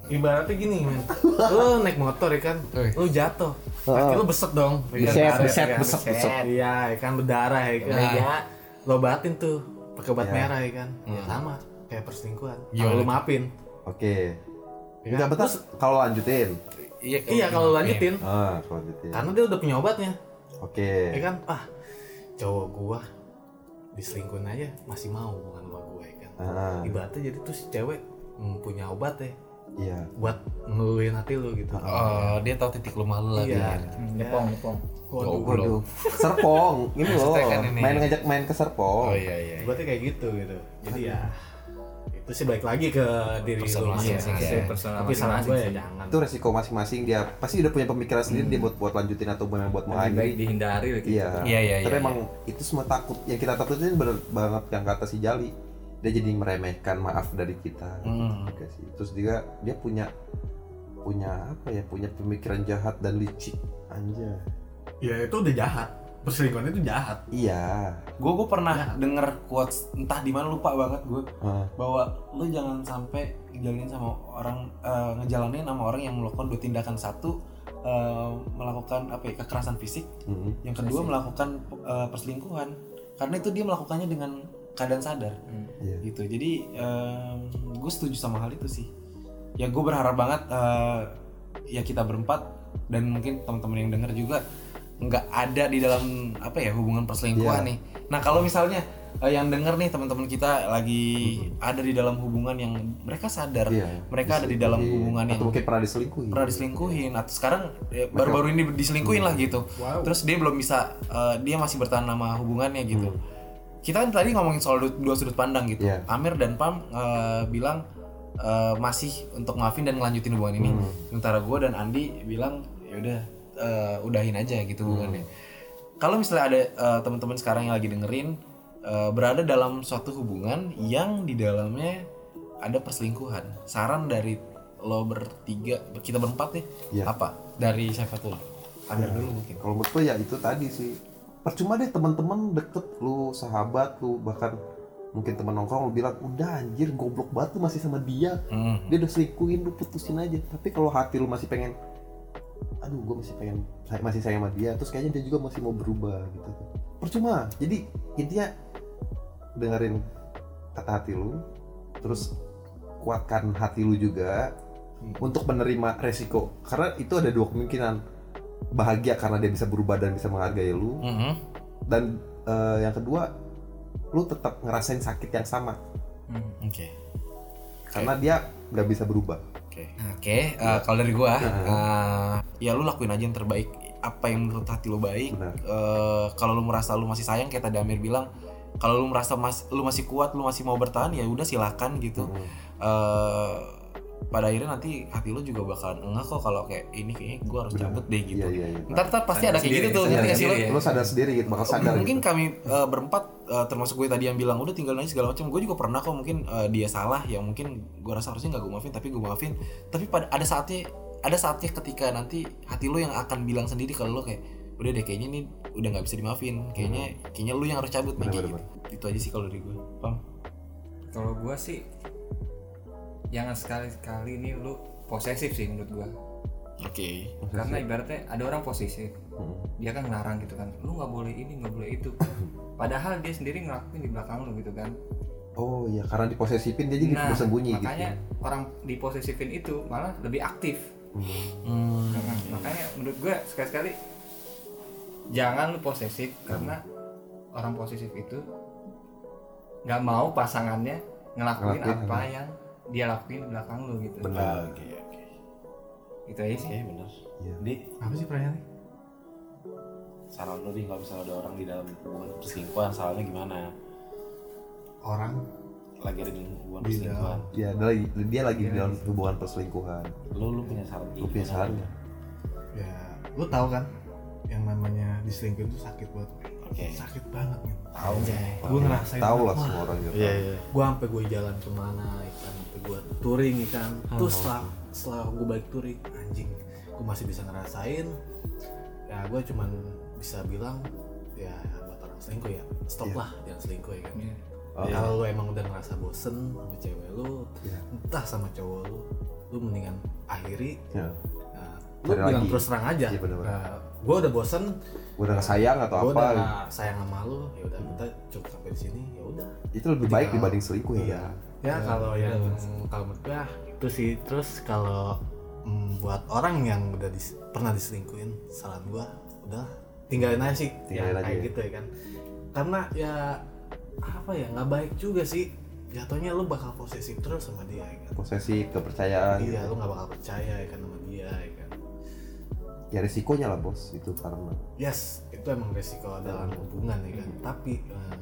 Speaker 1: Ibaratnya gini,
Speaker 3: [LAUGHS]
Speaker 1: men. Lu naik motor ya kan,
Speaker 3: Eh.
Speaker 1: lu jatuh. Kaki lu beset dong. ya kan?
Speaker 2: Beset,
Speaker 1: Ada-
Speaker 2: beset,
Speaker 1: ada-
Speaker 2: beset, beset.
Speaker 1: Iya, ya kan berdarah ya kan.
Speaker 3: Nah.
Speaker 1: Ya, Lu obatin tuh pakai obat
Speaker 2: Iya.
Speaker 1: merah ya kan. Ya, sama kayak perselingkuhan.
Speaker 3: Gimana
Speaker 1: Kalau lu
Speaker 3: tuh?
Speaker 1: maafin.
Speaker 2: oke
Speaker 1: ya kan?
Speaker 2: nggak betah
Speaker 1: Terus-
Speaker 2: kalau lanjutin
Speaker 3: iya
Speaker 1: Iya, kalau lanjutin
Speaker 2: ah kalau lanjutin
Speaker 1: karena dia udah punya obatnya.
Speaker 2: oke
Speaker 3: Iya.
Speaker 1: Ya kan? Ah, cowok gua diselingkuhin aja masih mau hubungan sama gua ya kan.
Speaker 2: Ah,
Speaker 1: Ibaratnya jadi tuh si cewek mm, punya obat ya
Speaker 2: iya
Speaker 1: buat ngeluhin hati lu gitu.
Speaker 3: Oh, dia tahu titik lemah lu lagi
Speaker 1: Iya.
Speaker 6: Hmm, nyepong nyepong
Speaker 1: Waduh.
Speaker 2: waduh [LAUGHS] serpong ini loh
Speaker 3: Maksudnya kan ini.
Speaker 2: main ngajak main ke serpong
Speaker 3: oh iya iya
Speaker 1: Buatnya kayak gitu gitu. Jadi ya itu sih balik lagi ke diri lu
Speaker 3: Personal
Speaker 1: masing-masing.
Speaker 3: masing-masing.
Speaker 1: ya.
Speaker 3: Iya.
Speaker 6: personal
Speaker 1: Tapi saran
Speaker 6: masing-masing
Speaker 1: gue ya
Speaker 6: sih.
Speaker 1: jangan.
Speaker 2: itu resiko masing-masing dia pasti udah punya pemikiran sendiri
Speaker 3: Hmm.
Speaker 2: dia buat buat lanjutin atau buat buat mau
Speaker 6: lebih
Speaker 2: lanjut.
Speaker 6: baik dihindari gitu. lagi
Speaker 2: Iya.
Speaker 3: Iya, iya,
Speaker 2: Tapi
Speaker 3: iya,
Speaker 2: emang itu semua takut yang kita takutin bener banget yang kata si Jali. Dia jadi meremehkan maaf dari kita.
Speaker 3: Hmm.
Speaker 2: Juga sih. Terus dia dia punya punya apa ya? Punya pemikiran jahat dan licik anjay.
Speaker 1: Ya itu udah jahat. Perselingkuhan itu jahat.
Speaker 2: Iya.
Speaker 3: gue gue pernah denger quotes entah di mana lupa banget gue
Speaker 2: Ah,
Speaker 3: bahwa lu jangan sampai ngejalanin sama orang eh, ngejalanin sama orang yang melakukan dua tindakan satu eh, melakukan apa ya, kekerasan fisik
Speaker 2: mm.
Speaker 3: yang kedua melakukan eh, perselingkuhan karena itu dia melakukannya dengan keadaan sadar
Speaker 2: Iya.
Speaker 3: gitu jadi gue setuju sama hal itu sih ya gue berharap banget eh, ya kita berempat dan mungkin teman-teman yang denger juga nggak ada di dalam apa ya hubungan perselingkuhan
Speaker 2: Iya.
Speaker 3: nih nah kalau misalnya eh, yang denger nih teman-teman kita lagi ada di dalam hubungan yang mereka sadar
Speaker 2: Mm-hmm. Iya.
Speaker 3: mereka ada di dalam
Speaker 2: Diselingkuhin.
Speaker 3: hubungan yang
Speaker 2: atau mungkin pernah diselingkuhi.
Speaker 3: pernah diselingkuhin atau sekarang ya, baru-baru ini diselingkuhin lah gitu terus dia belum bisa eh, dia masih bertahan sama hubungannya gitu kita kan tadi ngomongin soal du- dua sudut pandang gitu
Speaker 2: Iya.
Speaker 3: Amir dan Pam eh, bilang eh, masih untuk maafin dan ngelanjutin hubungan ini sementara gue dan Andi bilang ya udah eh, udahin aja gitu hubungannya kalau misalnya ada eh, teman-teman sekarang yang lagi dengerin eh, berada dalam suatu hubungan yang di dalamnya ada perselingkuhan saran dari lo bertiga kita berempat nih
Speaker 2: Iya.
Speaker 3: apa dari siapa tuh Amir dulu mungkin
Speaker 2: Kalau menurut gue ya itu tadi sih. Percuma deh teman-teman deket lu, sahabat lu, bahkan mungkin teman nongkrong lu bilang udah anjir goblok banget lu masih sama dia
Speaker 3: Hmm.
Speaker 2: dia udah selingkuhin lu putusin aja tapi kalau hati lu masih pengen aduh gue masih pengen say- masih sayang sama dia terus kayaknya dia juga masih mau berubah gitu percuma jadi intinya dengerin kata hati lu terus kuatkan hati lu juga
Speaker 3: Hmm.
Speaker 2: untuk menerima resiko karena itu ada dua kemungkinan bahagia karena dia bisa berubah dan bisa menghargai lu
Speaker 3: Mhm.
Speaker 2: dan eh, yang kedua lu tetap ngerasain sakit yang sama
Speaker 6: Hmm.
Speaker 3: Oke.
Speaker 2: karena dia nggak bisa berubah
Speaker 3: Oke. Oke, eh, kalau dari gua
Speaker 2: Iya.
Speaker 3: eh, ya lu lakuin aja yang terbaik apa yang menurut hati lu baik.
Speaker 2: Benar.
Speaker 3: Eh, kalau lu merasa lu masih sayang kayak tadi Amir bilang, kalau lu merasa mas, lu masih kuat, lu masih mau bertahan ya udah silakan gitu.
Speaker 2: Hmm.
Speaker 3: Eh, pada akhirnya nanti hati lu juga bakalan enggak kok kalau kayak ini kayaknya gua harus
Speaker 2: Benar.
Speaker 3: cabut deh gitu.
Speaker 2: Iya, iya, iya.
Speaker 3: Ntar, ntar pasti
Speaker 6: Sadar
Speaker 3: ada kayak
Speaker 6: sendiri,
Speaker 3: gitu tuh,
Speaker 6: sadar
Speaker 3: ngerti nggak sih
Speaker 6: sendiri
Speaker 3: lu?
Speaker 6: ya.
Speaker 2: Lu Iya, sadar sendiri gitu, bakal sadar
Speaker 3: Oh, mungkin
Speaker 2: gitu.
Speaker 3: kami eh, berempat eh, termasuk gue tadi yang bilang udah tinggal nangis segala macam gue juga pernah kok mungkin eh, dia salah ya mungkin gue rasa harusnya nggak gue maafin tapi gue maafin tapi pada ada saatnya ada saatnya ketika nanti hati lo yang akan bilang sendiri kalau lo kayak udah deh kayaknya ini udah nggak bisa dimaafin kayaknya kayaknya lo yang harus cabut nih kayak gitu. itu aja sih kalau dari gue pam
Speaker 6: kalau gua sih jangan sekali-kali ini lu posesif sih menurut gua
Speaker 3: oke
Speaker 6: karena ibaratnya ada orang posesif
Speaker 2: Hmm.
Speaker 6: dia kan ngelarang
Speaker 2: Hmm.
Speaker 6: gitu kan lu nggak boleh ini nggak boleh itu padahal dia sendiri ngelakuin di belakang lu gitu kan
Speaker 2: Oh iya, karena diposesifin dia jadi
Speaker 6: Nah,
Speaker 2: bersembunyi gitu.
Speaker 6: makanya orang diposesifin itu malah lebih aktif
Speaker 3: Hmm.
Speaker 6: Nah, makanya menurut gue sekali-sekali jangan lu posesif
Speaker 2: Hmm.
Speaker 6: karena orang posesif itu nggak mau pasangannya ngelakuin,
Speaker 2: Ngelakuin
Speaker 6: apa
Speaker 2: apa.
Speaker 6: yang dia lakuin di belakang lu gitu
Speaker 2: Benar.
Speaker 3: Oke, oke.
Speaker 6: gitu aja sih
Speaker 3: Oke, benar.
Speaker 2: Iya.
Speaker 3: Di
Speaker 1: Apa sih pertanyaannya?
Speaker 3: saran lu nih kalau misalnya ada orang di dalam hubungan perselingkuhan, sarannya gimana?
Speaker 1: Orang
Speaker 3: Lagi ada di hubungan
Speaker 1: Di
Speaker 3: perselingkuhan.
Speaker 2: Ya, dia lagi, dia lagi di dalam hubungan perselingkuhan.
Speaker 3: Lu lu punya saran? gitu.
Speaker 2: Lu punya saran nggak?
Speaker 1: ya lu tahu kan yang namanya diselingkuhin itu sakit banget.
Speaker 3: Oke.
Speaker 1: Sakit banget men.
Speaker 3: Tahu.
Speaker 1: Gue ngerasain.
Speaker 2: Iya. Tahu lah
Speaker 1: Wah,
Speaker 2: semua orang gitu. juga.
Speaker 7: Iya, iya.
Speaker 1: gue gitu kan. sampai gue jalan kemana ikan sampai gue touring ikan
Speaker 2: Oh.
Speaker 1: terus setelah setelah gue balik touring anjing gue masih bisa ngerasain ya gue cuman bisa bilang ya buat orang selingkuh ya stop lah jangan selingkuh ya kan
Speaker 6: Iya.
Speaker 2: Oh.
Speaker 1: kalau lu emang udah ngerasa bosen sama cewek lu
Speaker 2: Iya.
Speaker 1: entah sama cowok lu lu mendingan akhiri
Speaker 2: Ya.
Speaker 1: Nah, lu
Speaker 2: Cari
Speaker 1: bilang
Speaker 2: lagi.
Speaker 1: terus terang aja
Speaker 2: Iya, bener-bener.
Speaker 1: gue udah bosen
Speaker 2: Udah nggak sayang atau
Speaker 1: gue
Speaker 2: apa? gitu.
Speaker 1: udah nggak sayang sama lu ya udah kita cukup sampai di sini ya udah
Speaker 2: Itu lebih baik
Speaker 1: Tinggal-
Speaker 2: dibanding selingkuh ya.
Speaker 1: Iya. Ya kalau yang kalau menurut gua, itu sih terus kalau mm, buat orang yang udah dis- pernah diselingkuhin saran gua udah tinggalin aja sih
Speaker 2: Tinggalin
Speaker 1: ya,
Speaker 2: aja
Speaker 1: kayak
Speaker 2: ya.
Speaker 1: gitu ya kan karena ya apa ya nggak baik juga sih jatuhnya lu bakal posesif terus sama dia ya kan
Speaker 2: Posesif, kepercayaan.
Speaker 1: iya lu
Speaker 2: gitu.
Speaker 1: nggak bakal percaya ya kan sama dia ya kan
Speaker 2: Ya risikonya lah bos itu karena.
Speaker 1: yes itu emang resiko dalam hubungan ya kan tapi eh,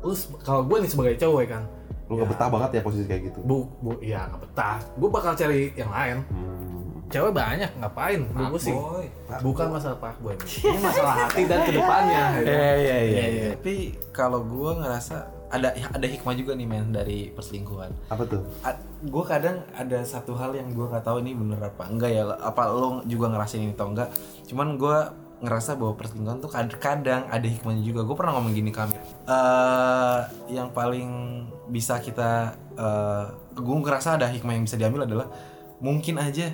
Speaker 1: lu se- kalau gue nih sebagai cowok ya kan
Speaker 2: Lu nggak
Speaker 1: Ya.
Speaker 2: betah banget ya posisi kayak gitu.
Speaker 1: bu, bu ya nggak betah gue bakal cari yang lain
Speaker 2: Hmm.
Speaker 1: cewek banyak ngapain
Speaker 6: Nah,
Speaker 1: gue sih
Speaker 6: boy.
Speaker 1: bukan masalah pak boy [LAUGHS] Eh. ini masalah hati dan kedepannya
Speaker 3: Iya iya iya. Tapi kalau gua ngerasa ada ada hikmah juga nih men dari perselingkuhan.
Speaker 2: Apa tuh?
Speaker 3: gue kadang ada satu hal yang gue nggak tahu ini bener apa enggak ya apa lo juga ngerasain ini atau enggak cuman gue ngerasa bahwa perselingkuhan tuh kad- kadang ada hikmahnya juga gue pernah ngomong gini kami yang paling bisa kita gue ngerasa ada hikmah yang bisa diambil adalah mungkin aja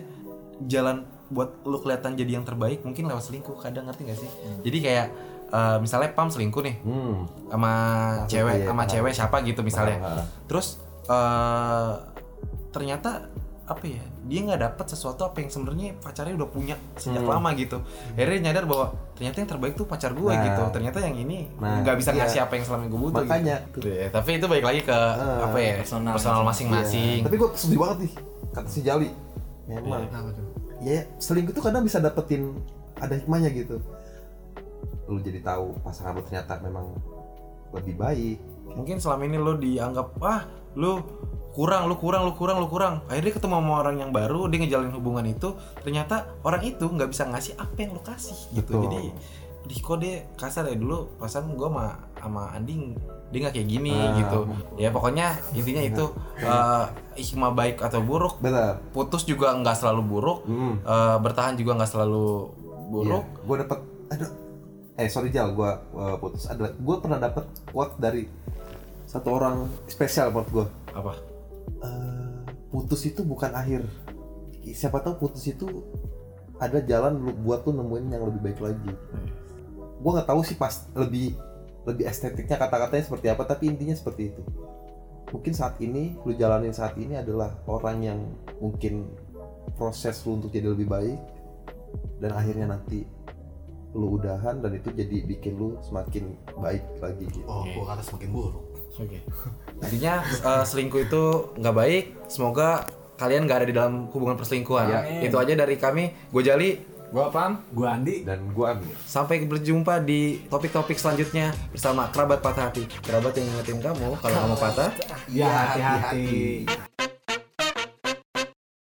Speaker 3: jalan buat lu kelihatan jadi yang terbaik mungkin lewat selingkuh kadang ngerti gak sih jadi kayak eh, misalnya pam selingkuh nih
Speaker 2: Hmm.
Speaker 3: sama cewek
Speaker 2: iya,
Speaker 3: sama
Speaker 2: paham.
Speaker 3: cewek siapa gitu misalnya
Speaker 2: Paham, paham.
Speaker 3: terus eh, ternyata apa ya dia nggak dapat sesuatu apa yang sebenarnya pacarnya udah punya sejak
Speaker 2: Hmm.
Speaker 3: lama gitu akhirnya nyadar bahwa ternyata yang terbaik tuh pacar gue
Speaker 2: Nah.
Speaker 3: gitu ternyata yang ini
Speaker 2: Nah,
Speaker 3: nggak bisa
Speaker 2: iya.
Speaker 3: ngasih apa yang selama gue butuh
Speaker 2: Makanya. Eh,
Speaker 3: gitu. Ya, tapi itu balik lagi ke apa ya
Speaker 6: personal.
Speaker 3: personal, masing-masing Iya.
Speaker 2: Iya. Tapi gue sedih banget nih kata si Jali. Memang. Ya selingkuh tuh kadang bisa dapetin ada hikmahnya gitu. Lu jadi tahu pasangan lu ternyata memang lebih baik.
Speaker 3: mungkin selama ini lo dianggap ah lo kurang lo kurang lo kurang lo kurang akhirnya ketemu sama orang yang baru dia ngejalin hubungan itu ternyata orang itu nggak bisa ngasih apa yang lo kasih gitu
Speaker 2: Betul.
Speaker 3: jadi di kode kasar ya dulu pasan gue sama sama Andi dia nggak kayak gini
Speaker 2: Ah.
Speaker 3: gitu ya pokoknya intinya itu eh, hikmah baik atau buruk
Speaker 2: Benar.
Speaker 3: putus juga nggak selalu buruk
Speaker 2: Hmm.
Speaker 3: eh, bertahan juga nggak selalu buruk
Speaker 2: Gue Iya, dapet ada eh sorry Jal, gue putus ada gue pernah dapet quote dari satu orang spesial buat gue.
Speaker 3: apa
Speaker 2: Eh, putus itu bukan akhir. Siapa tahu putus itu ada jalan lu buat tuh nemuin yang lebih baik lagi. Gue nggak tahu sih pas lebih lebih estetiknya kata-katanya seperti apa, tapi intinya seperti itu. Mungkin saat ini lu jalanin saat ini adalah orang yang mungkin proses lu untuk jadi lebih baik dan akhirnya nanti lu udahan dan itu jadi bikin lu semakin baik lagi gitu.
Speaker 1: oh gue kata semakin buruk
Speaker 3: Oke. Intinya eh, selingkuh itu nggak baik. Semoga kalian nggak ada di dalam hubungan perselingkuhan.
Speaker 6: Amin.
Speaker 3: Itu aja dari kami. Gue Jali.
Speaker 6: gua paham
Speaker 1: gue Andi
Speaker 2: Dan gua ambil.
Speaker 3: Sampai berjumpa di topik-topik selanjutnya bersama kerabat patah hati. Kerabat yang ngingetin kamu kalau kamu patah.
Speaker 1: ya Nah, iya, hati-hati